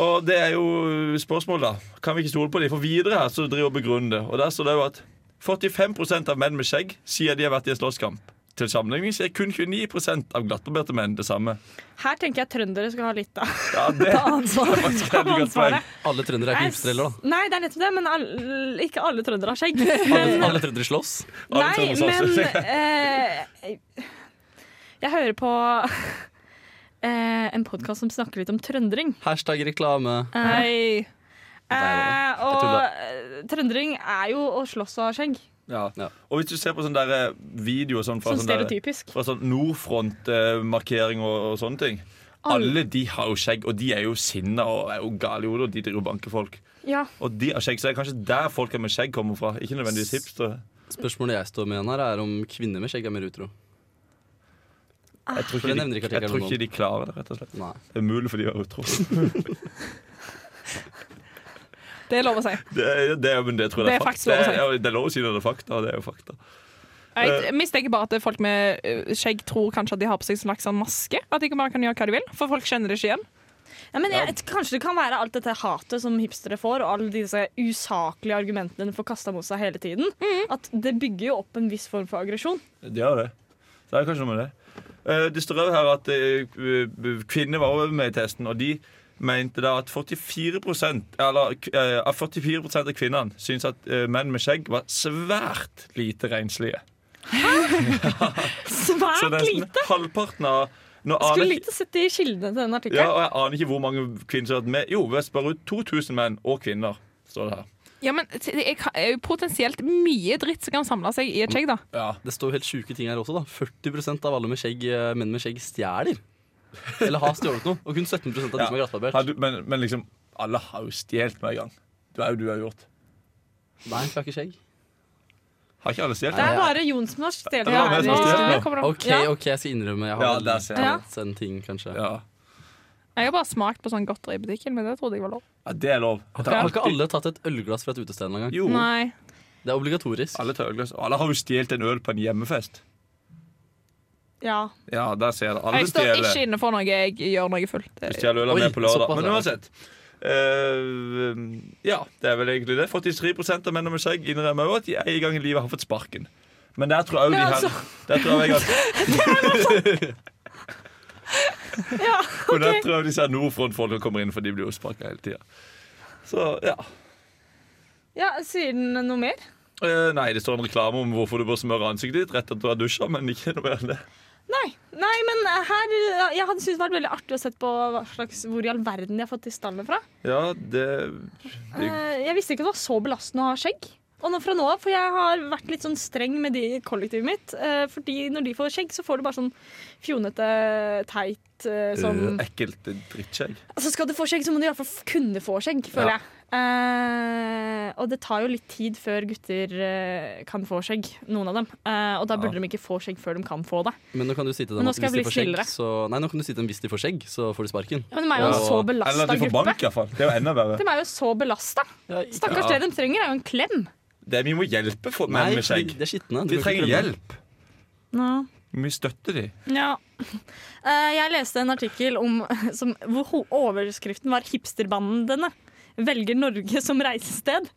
Speaker 2: Og det er jo spørsmålet, da. Kan vi ikke stole på dem? For videre her så driver begrunner det. Og der står det jo at 45 av menn med skjegg sier de har vært i en slåsskamp. Til sammenligning sier kun 29 av glattbarberte menn det samme.
Speaker 1: Her tenker jeg trøndere skal ha litt av
Speaker 2: Ja, det er
Speaker 1: ansvaret.
Speaker 2: faktisk et godt poeng.
Speaker 6: Alle trøndere er ikke hipstere heller, da.
Speaker 1: Nei, det er nettopp det, men all- ikke alle trøndere har skjegg.
Speaker 6: Alle,
Speaker 1: Men,
Speaker 6: alle trøndere slåss.
Speaker 2: Alle
Speaker 1: nei,
Speaker 2: trøndere sa
Speaker 1: men
Speaker 2: også.
Speaker 1: eh, Jeg hører på eh, en podkast som snakker litt om trøndring.
Speaker 6: Hashtag reklame.
Speaker 1: Eh,
Speaker 4: Nei.
Speaker 1: Eh,
Speaker 6: Der,
Speaker 1: og
Speaker 6: tuller.
Speaker 1: eh, trøndering er jo å slåss og ha skjegg.
Speaker 2: Ja.
Speaker 6: Ja.
Speaker 2: Og hvis du ser på sånne der videoer sånn fra,
Speaker 1: Sånn
Speaker 2: sånn der-
Speaker 1: stereotypisk.
Speaker 2: fra sånn Nordfront-markering og, og sånne ting Alle de har jo skjegg, og de er jo sinna og er jo gale i hodet, og de driver og banker folk.
Speaker 1: Ja.
Speaker 2: Og de har skjegg, så det er kanskje der folka med skjegg kommer fra. Ikke nødvendigvis hipstere.
Speaker 6: Spørsmålet jeg står med igjen her, er om kvinner med skjegg er mer utro.
Speaker 2: Jeg tror
Speaker 6: For det
Speaker 2: ikke,
Speaker 6: nevner
Speaker 2: de, jeg
Speaker 6: ikke
Speaker 2: tror
Speaker 6: artikkelen
Speaker 2: ikke de klarer det, rett og slett.
Speaker 6: Nei.
Speaker 2: Det er mulig for de å være utro.
Speaker 4: Det er lov å si.
Speaker 2: Det, er- det, er- men det tror jeg
Speaker 4: Det er
Speaker 2: fak-
Speaker 4: faktisk lov å
Speaker 2: det
Speaker 4: si.
Speaker 2: er- ja, Det er lov å si når det er fakta, og det er jo fakta.
Speaker 4: Jeg mistenker bare at folk med eh, skjegg tror kanskje at de har på seg en slags sånn maske. At de ikke bare kan gjøre hva de vil, for folk kjenner det ikke igjen.
Speaker 1: Ja, men jeg, kanskje det kan være alt dette hatet som hipstere får, og alle disse usaklige argumentene de får kasta mot seg hele tiden. At det bygger jo opp en viss form for aggresjon.
Speaker 2: De har det. Så det er kanskje noe med det. Eh, Det står også her at eh, kvinner var også med i testen, og de mente da at 44 eller, eh, at 44 av kvinnene syns at eh, menn med skjegg var svært lite renslige. Så
Speaker 1: Svært
Speaker 2: nesten
Speaker 1: Ah, lite!
Speaker 2: halvparten av nå aner
Speaker 1: Skulle
Speaker 2: jeg-
Speaker 1: likt å sett det i kildene til den
Speaker 2: ja,
Speaker 1: artikkelen.
Speaker 2: og jeg aner ikke hvor mange kvinner som har vært med. Jo, vi spør ut 2000 menn og kvinner, står det her.
Speaker 4: Ja, men t- Det er ka- er jo potensielt mye dritt som kan samle seg i et skjegg, da.
Speaker 2: Ja.
Speaker 6: Det står jo helt sjuke ting her også. da 40 av alle med skjegg, eh, menn med skjegg stjeler. Eller har stjålet noe. Og kun 17 av de
Speaker 2: Ja.
Speaker 6: som er glattbarbert.
Speaker 2: Har du, men, men liksom, alle har jo stjålet med en gang. Det er jo du har gjort.
Speaker 6: Nei, for jeg har ikke skjegg.
Speaker 2: Har ikke alle stjålet?
Speaker 1: Det er bare Jon som har stjålet
Speaker 2: Det var meg
Speaker 1: her.
Speaker 2: som stjal.
Speaker 1: i-
Speaker 4: Nå kommer det opp.
Speaker 6: OK,
Speaker 1: Ja.
Speaker 6: ok, jeg skal innrømme. Jeg har
Speaker 2: Ja,
Speaker 6: vel
Speaker 2: der ser jeg
Speaker 1: det.
Speaker 6: tatt en ting, kanskje.
Speaker 2: Ja.
Speaker 4: Jeg har bare smakt på sånn godteri i butikken, men det trodde jeg var lov.
Speaker 2: Ja, det er lov.
Speaker 6: Har ikke- har ikke alle tatt et ølglass fra et utested en gang?
Speaker 2: Jo,
Speaker 4: Nei.
Speaker 6: Det er obligatorisk.
Speaker 2: alle tar ølglass. Og alle har jo stjålet en øl på en hjemmefest.
Speaker 1: Ja.
Speaker 2: Ja, der ser jeg det. Alle
Speaker 4: Jeg står
Speaker 2: stjeler
Speaker 4: ikke inne for noe jeg gjør noe fullt.
Speaker 2: Du stjeler øl
Speaker 6: Oi,
Speaker 2: med på lørdag.
Speaker 6: såpass,
Speaker 2: Men
Speaker 6: ja.
Speaker 2: uansett. Eh, ja, det er vel egentlig det. 43 av menn med skjegg innrømmer også at de en gang i livet har fått sparken. Men der tror jeg jo de
Speaker 1: Men
Speaker 2: her
Speaker 1: altså-
Speaker 2: Der tror jeg at
Speaker 1: ja.
Speaker 2: Og der tror jeg disse her Nordfront-folka kommer inn, for de blir jo sparka hele tida. Så ja.
Speaker 1: ja. Sier den noe mer?
Speaker 2: Eh, nei, det står en reklame om hvorfor du bør smøre ansiktet ditt rett etter at du har dusja, men ikke noe mer enn det.
Speaker 1: Nei. Nei, men her Jeg hadde syntes det vært veldig artig å sett på hva slags, hvor i all verden de har fått disse tallene fra.
Speaker 2: Ja, det
Speaker 1: Eh, Jeg visste ikke det var så belastende å ha skjegg. Og nå fra nå av, for jeg har vært litt sånn streng med de i kollektivet mitt. eh, Fordi når de får skjegg, så får du bare sånn fjonete, teit eh, sånn
Speaker 2: Ekkelt drittskjegg.
Speaker 1: Altså Skal du få skjegg, så må du i hvert fall kunne få skjegg, føler jeg. Eh, og det tar jo litt tid før gutter eh, kan få skjegg, noen av dem. Eh, og da burde de ikke få skjegg før de kan få det.
Speaker 6: Men nå kan du si til
Speaker 1: Men
Speaker 6: dem
Speaker 1: nå
Speaker 6: at
Speaker 1: skal
Speaker 6: hvis
Speaker 1: jeg
Speaker 6: de
Speaker 1: bli
Speaker 6: får skjegg,
Speaker 1: snillere.
Speaker 6: så Nei, nå kan du si til dem hvis de får skjegg, så får de sparken.
Speaker 1: Ja, Men de er jo en
Speaker 6: Ja.
Speaker 1: så
Speaker 2: Eller
Speaker 1: belasta
Speaker 2: at du får
Speaker 1: gruppe.
Speaker 2: bank, iallfall. Det er jo enda verre.
Speaker 1: De er jo så belasta. Stakkars,
Speaker 2: Ja.
Speaker 1: det de trenger, er jo en klem.
Speaker 2: Det er, vi må hjelpe folk
Speaker 6: Nei,
Speaker 2: menn med
Speaker 6: fordi
Speaker 2: skjegg.
Speaker 6: de er skitne. Du
Speaker 2: De
Speaker 6: kan
Speaker 2: trenger
Speaker 6: ikke klemme.
Speaker 2: hjelp.
Speaker 1: Ja.
Speaker 2: Vi støtter de.
Speaker 1: Eh, jeg leste en artikkel om, som, hvor ho- overskriften var 'Hipsterbandene velger Norge som reisested'.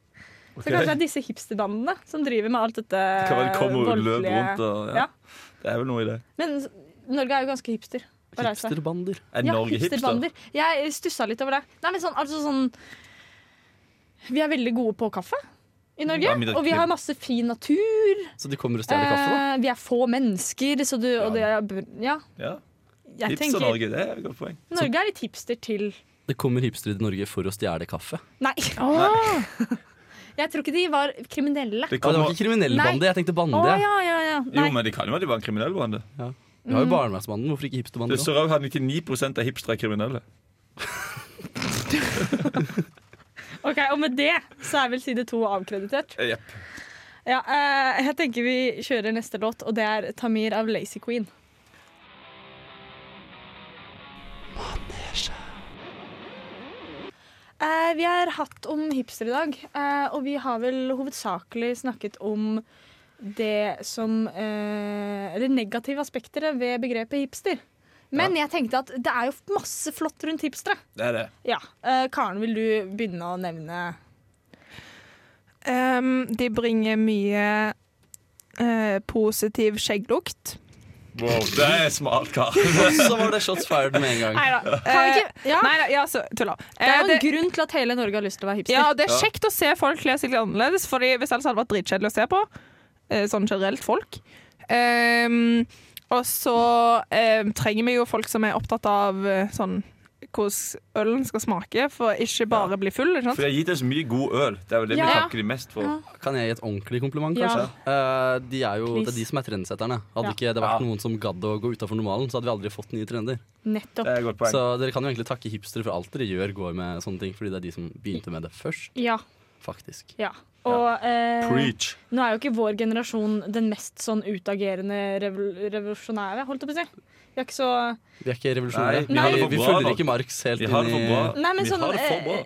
Speaker 1: Så kanskje det er disse hipsterbandene som driver med alt dette
Speaker 2: Kan vel komme og
Speaker 1: Eh,
Speaker 2: løpe
Speaker 1: voldelige-
Speaker 2: rundt og ja.
Speaker 1: Ja.
Speaker 2: Det er vel noe i det.
Speaker 1: Men s- Norge er jo ganske hipster. å reise.
Speaker 6: Hipsterbander.
Speaker 2: Er Norge hipster?
Speaker 1: hipsterbander. Jeg stussa litt over det. Nei, men sånn, altså sånn Vi er veldig gode på kaffe i Norge.
Speaker 2: Ja, men det-
Speaker 1: og vi har masse fin natur.
Speaker 6: Så de kommer og stjeler kaffe, da?
Speaker 1: Eh, vi er få mennesker, så du og det
Speaker 2: Ja.
Speaker 1: er, Ja.
Speaker 2: Ja.
Speaker 1: Jeg tenker Norge.
Speaker 2: Hipster-Norge, det er et godt poeng.
Speaker 1: er litt hipster til
Speaker 6: Det kommer hipstere til Norge for å stjele kaffe.
Speaker 1: Nei. Jeg tror ikke de var kriminelle.
Speaker 2: Det
Speaker 6: Å, det var
Speaker 2: kommer,
Speaker 6: ikke kriminell
Speaker 1: Nei.
Speaker 6: bande, jeg tenkte bande.
Speaker 1: Å
Speaker 6: ja.
Speaker 1: ja, ja, ja.
Speaker 2: jo,
Speaker 1: Nei.
Speaker 2: men det kan jo være de var en kriminell bande.
Speaker 6: Vi
Speaker 1: Mm.
Speaker 6: har jo Barnevernsmannen, hvorfor ikke hipsterbande?
Speaker 2: Det
Speaker 6: da?
Speaker 2: står òg her 99 av hipstere er kriminelle.
Speaker 1: Ok, Og med det så er vel side to avkreditert.
Speaker 2: Eh, Jepp.
Speaker 1: Ja, eh, jeg tenker vi kjører neste låt, og det er Tamir av Lazy Queen. Eh, vi har hatt om hipster i dag, eh, og vi har vel hovedsakelig snakket om det som eh, Eller negative aspekter ved begrepet hipster. Men jeg tenkte at det er jo masse flott rundt hipstere.
Speaker 2: Det er det.
Speaker 1: Ja. Eh, Karen, vil du begynne å nevne
Speaker 4: Um, de bringer mye eh, positiv skjegglukt.
Speaker 2: Wow, det er smart, kar.
Speaker 6: Så var det shots fired med en gang.
Speaker 4: Nei da.
Speaker 1: Kan vi ikke- ja.
Speaker 4: Nei da, eh, ja, så, tulla.
Speaker 1: Eh, Det er jo
Speaker 4: Eh,
Speaker 1: en grunn til at hele Norge har lyst til å være hipster.
Speaker 4: ja, det er kjekt å se folk kle seg litt annerledes, Fordi hvis ellers hadde det vært dritkjedelig å se på. eh, Sånn generelt folk. ehm, Um, og så eh, trenger vi jo folk som er opptatt av eh, sånn hvordan ølen skal smake, for ikke bare bli full.
Speaker 2: For
Speaker 4: ikke sant?
Speaker 2: de har gitt deg så mye god øl. Det er jo det vi
Speaker 1: Ja.
Speaker 2: takker de mest for.
Speaker 6: Kan jeg gi et ordentlig kompliment,
Speaker 1: Ja.
Speaker 6: kanskje? Eh, de er jo, det er de som er trendsetterne. Hadde
Speaker 1: Ja.
Speaker 6: ikke det
Speaker 2: Ja.
Speaker 6: vært noen som gadd å gå utafor normalen, så hadde vi aldri fått nye trender.
Speaker 1: Nettopp.
Speaker 2: Det er et godt poeng.
Speaker 6: Så dere kan jo egentlig takke hipstere for alt dere gjør, går med sånne ting, fordi det er de som begynte med det først,
Speaker 1: Ja.
Speaker 6: faktisk.
Speaker 1: ja. Og eh,
Speaker 2: Preach.
Speaker 1: nå er jo ikke vår generasjon den mest sånn utagerende revol revolusjonære, holdt jeg på å si. Vi er ikke så
Speaker 6: Vi er ikke revolusjonære.
Speaker 2: Nei, vi har det
Speaker 6: vi,
Speaker 2: for
Speaker 6: vi
Speaker 2: bra,
Speaker 6: følger
Speaker 2: da.
Speaker 6: ikke Marx helt
Speaker 2: Vi
Speaker 6: inn
Speaker 2: har det for
Speaker 6: i
Speaker 2: bra.
Speaker 1: Nei, men
Speaker 2: vi
Speaker 1: sånn,
Speaker 2: har det for bra.
Speaker 1: eh,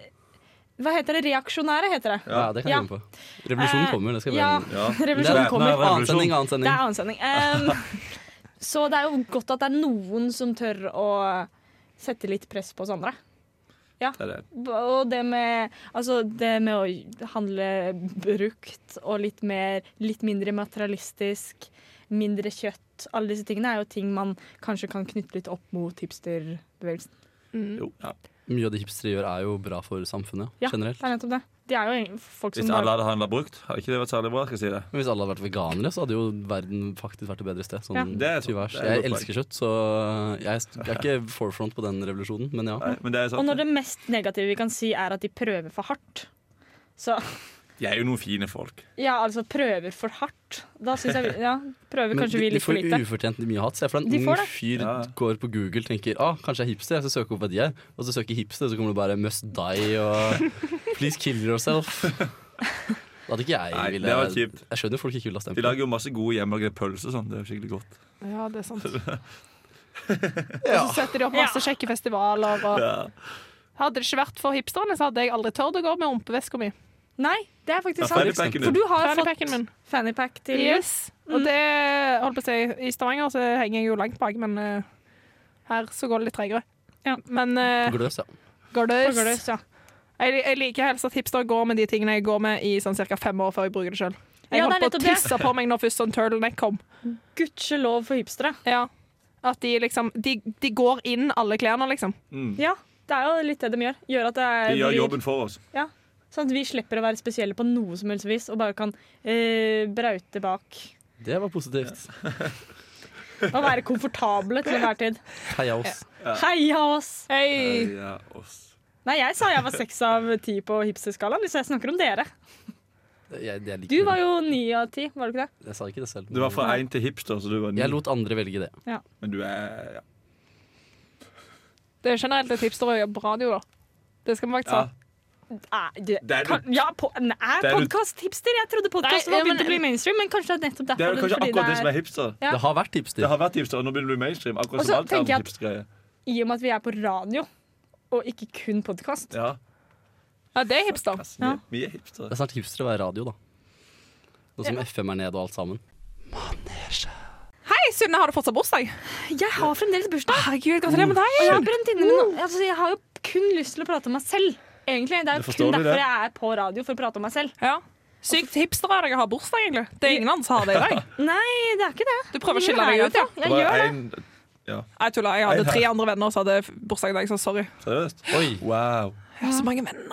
Speaker 1: Hva heter det? Reaksjonære, heter det.
Speaker 6: Ja, det kan vi
Speaker 1: Ja.
Speaker 6: gå med på. Revolusjonen
Speaker 1: Eh,
Speaker 6: kommer, det skal vi
Speaker 1: Ja,
Speaker 6: gjøre.
Speaker 2: Ja.
Speaker 1: revolusjonen
Speaker 2: Nei,
Speaker 1: kommer.
Speaker 2: nei,
Speaker 6: Annen sending, annen
Speaker 1: Det er
Speaker 6: sending.
Speaker 1: annen sending. Ehm, så det er jo godt at det er noen som tør å sette litt press på oss andre.
Speaker 2: Det er det.
Speaker 1: B- Og det med, altså det med å handle brukt og litt, mer, litt mindre materialistisk, mindre kjøtt Alle disse tingene er jo ting man kanskje kan knytte litt opp mot hipsterbevegelsen. Mm.
Speaker 4: Mm.
Speaker 2: Jo. Ja.
Speaker 6: Mye av det hipstere gjør, er jo bra for samfunnet
Speaker 1: Ja,
Speaker 6: generelt.
Speaker 1: Det er nettopp det. De er jo egentlig folk som
Speaker 2: Hvis alle
Speaker 1: bare
Speaker 2: hadde handla brukt, hadde ikke det vært særlig bra. skal jeg si det
Speaker 6: Men hvis alle hadde vært veganere, så hadde jo verden faktisk vært et bedre sted. Sånn
Speaker 1: Ja.
Speaker 2: Det er sant.
Speaker 6: tyvers.
Speaker 2: Det er et
Speaker 6: Jeg
Speaker 2: godt
Speaker 6: elsker kjøtt, så jeg jeg er ikke forefront på den revolusjonen, men ja.
Speaker 2: Nei, men det er
Speaker 1: Og
Speaker 2: sant.
Speaker 1: når det mest negative vi kan si, er at de prøver for hardt. Så
Speaker 2: De er jo noen fine folk.
Speaker 1: ja, altså prøver for hardt. Da syns jeg vi Ja, prøver
Speaker 6: Men
Speaker 1: kanskje vi
Speaker 6: de, de
Speaker 1: litt for
Speaker 6: får
Speaker 1: lite.
Speaker 6: ufortjent mye hat. Se for deg
Speaker 1: De
Speaker 6: en
Speaker 1: får det.
Speaker 6: ung fyr
Speaker 2: Ja.
Speaker 6: går på Google tenker ah, kanskje jeg er hipster, jeg skal søke opp hva de er. Og så søker hipster, så kommer det bare 'must die' og 'please kill yourself'. Det hadde ikke jeg
Speaker 2: Nei,
Speaker 6: ville
Speaker 2: det var kjipt.
Speaker 6: Jeg skjønner jo folk ikke ville ha stemt
Speaker 2: De lager jo masse gode hjemmelagde pølser og sånn. Det er jo skikkelig godt.
Speaker 4: Ja, det er sant.
Speaker 6: Ja.
Speaker 4: Og så setter de opp masse kjekke festivaler. Og
Speaker 2: Ja.
Speaker 4: hadde det ikke vært for hipsterne, så hadde jeg aldri tørt å gå med rumpeveska mi.
Speaker 1: Nei, det er
Speaker 2: Ja,
Speaker 1: faktisk sant.
Speaker 2: Fannypacken
Speaker 1: For
Speaker 2: din.
Speaker 1: du har
Speaker 4: Fannypacken
Speaker 1: fått
Speaker 4: min.
Speaker 1: fannypack til jul.
Speaker 4: Yes. Mm. Og det holdt på å si, I Stavanger så henger jeg jo langt bak, men eh, her så går det litt tregere.
Speaker 1: Ja.
Speaker 4: Men uh,
Speaker 6: Gløs, ja.
Speaker 4: går det?
Speaker 1: På Gløs, ja.
Speaker 4: Jeg, jeg liker helst at hipster går med de tingene jeg går med i sånn ca. fem år før jeg bruker det sjøl. Jeg
Speaker 1: Ja, det er
Speaker 4: holdt på å
Speaker 1: nettopp det.
Speaker 4: tisse på meg når først sånn turtleneck kom.
Speaker 1: Gudskjelov for hipstere.
Speaker 4: Ja. At de liksom De, de går inn alle klærne, liksom.
Speaker 2: Mm.
Speaker 1: Ja, det er jo litt det de gjør. Gjør at det er,
Speaker 2: De gjør
Speaker 1: blir-
Speaker 2: jobben for oss.
Speaker 1: Sånn at vi slipper å være spesielle på noe som helst vis, og bare kan eh, braute bak.
Speaker 6: Det var positivt.
Speaker 1: Og være komfortable til enhver tid.
Speaker 6: Heia oss.
Speaker 1: Heia oss!
Speaker 4: Hei!
Speaker 2: Ja, oss.
Speaker 1: Nei, jeg sa jeg var seks av ti på hipsterskalaen, så jeg snakker om dere.
Speaker 6: Jeg, jeg,
Speaker 1: Du var jo ni av ti, var du ikke det?
Speaker 6: jeg sa ikke det selv.
Speaker 2: Du var fra én til hipster, så du var ny.
Speaker 6: Jeg lot andre velge det.
Speaker 2: Men du er ja.
Speaker 4: Det er generelt et hipster å gjøre på radio, da. Det skal vi faktisk
Speaker 2: ja.
Speaker 4: ha.
Speaker 1: Er, det,
Speaker 2: Det er du-
Speaker 1: kan, ja, på, nei,
Speaker 2: Det er du-
Speaker 1: podcast-hipster! Jeg trodde podkasten var
Speaker 4: Nei, ja, men-
Speaker 1: begynt å bli mainstream, men kanskje det er nettopp
Speaker 2: Det
Speaker 1: derfor.
Speaker 2: er jo kanskje akkurat det som er hipster.
Speaker 1: Ja.
Speaker 6: Det har vært hipster.
Speaker 2: Det har vært hipster, og nå begynner det å bli mainstream.
Speaker 1: Og
Speaker 2: Akkurat
Speaker 1: så
Speaker 2: som alt
Speaker 1: tenker jeg
Speaker 2: annet
Speaker 1: at-
Speaker 2: hipstergreie.
Speaker 1: I og med at vi er på radio, og ikke kun podkast.
Speaker 2: Ja.
Speaker 4: Ja, det er hipster.
Speaker 2: Altså, vi,
Speaker 1: Ja.
Speaker 2: er- vi er hipstere.
Speaker 6: Det er snart hipster å være radio, da. Nå som FM er ned og alt sammen.
Speaker 4: Hei, Sunne, har du fortsatt bursdag?
Speaker 1: Jeg har fremdeles bursdag,
Speaker 4: Herregud, gratulerer med deg!
Speaker 1: og jeg har brent inne med noe. Altså, jeg har jo kun lyst til å prate om meg selv. Egentlig, Det er
Speaker 2: Det
Speaker 1: jo kun
Speaker 2: forstår vi, det.
Speaker 1: derfor jeg er på radio, for å prate om meg selv.
Speaker 4: Ja. Sykt hipster er det å ha bursdag, egentlig. Det er ingen andre som har det i dag.
Speaker 1: Nei, det er ikke det.
Speaker 4: Du prøver å skille deg ut, ja.
Speaker 1: Jeg
Speaker 2: var
Speaker 1: gjør det.
Speaker 2: en-
Speaker 4: Jeg tuller. Jeg hadde tre andre venner som hadde f- bursdag i dag, så sorry.
Speaker 2: Seriøst?
Speaker 6: Oi!
Speaker 2: Wow.
Speaker 4: Jeg har så mange venner.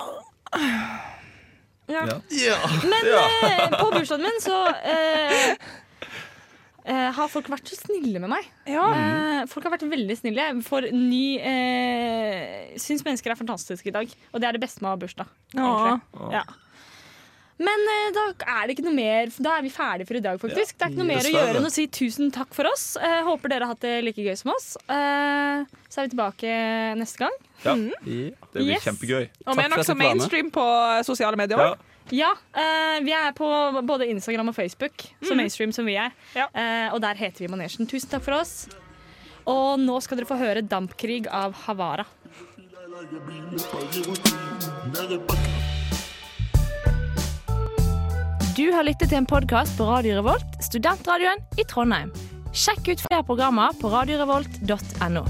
Speaker 1: Ja.
Speaker 2: Ja.
Speaker 1: Men eh, på bursdagen min så eh, eh, har folk vært så snille med meg.
Speaker 4: Ja.
Speaker 2: Mhm.
Speaker 1: Eh, folk har vært veldig snille. Jeg får ny eh, Syns mennesker er fantastiske i dag, og det er det beste med å ha bursdag. egentlig. Ja. Men eh, da er det ikke noe mer Da er vi ferdige for i dag, faktisk. Det er ikke noe mer å
Speaker 2: Dessverre.
Speaker 1: gjøre enn å si tusen takk for oss. Eh, håper dere har hatt det like gøy som oss. Eh, så er vi tilbake neste gang.
Speaker 6: Ja.
Speaker 2: Det blir
Speaker 1: Mm. Yes.
Speaker 2: kjempegøy.
Speaker 4: Og vi
Speaker 6: Takk
Speaker 4: er
Speaker 6: for at
Speaker 4: nokså
Speaker 6: jeg fikk være med.
Speaker 4: mainstream på sosiale medier
Speaker 2: Ja.
Speaker 4: òg.
Speaker 1: Ja, eh, vi er på både Instagram og Facebook, så mainstream som vi er.
Speaker 4: Ja.
Speaker 1: Eh, og der heter vi Manesjen. Tusen takk for oss. Og nå skal dere få høre 'Dampkrig' av Havara.
Speaker 7: Du har lyttet til en podkast på Radio Revolt, studentradioen i Trondheim. Sjekk ut flere programmer på radiorevolt.no.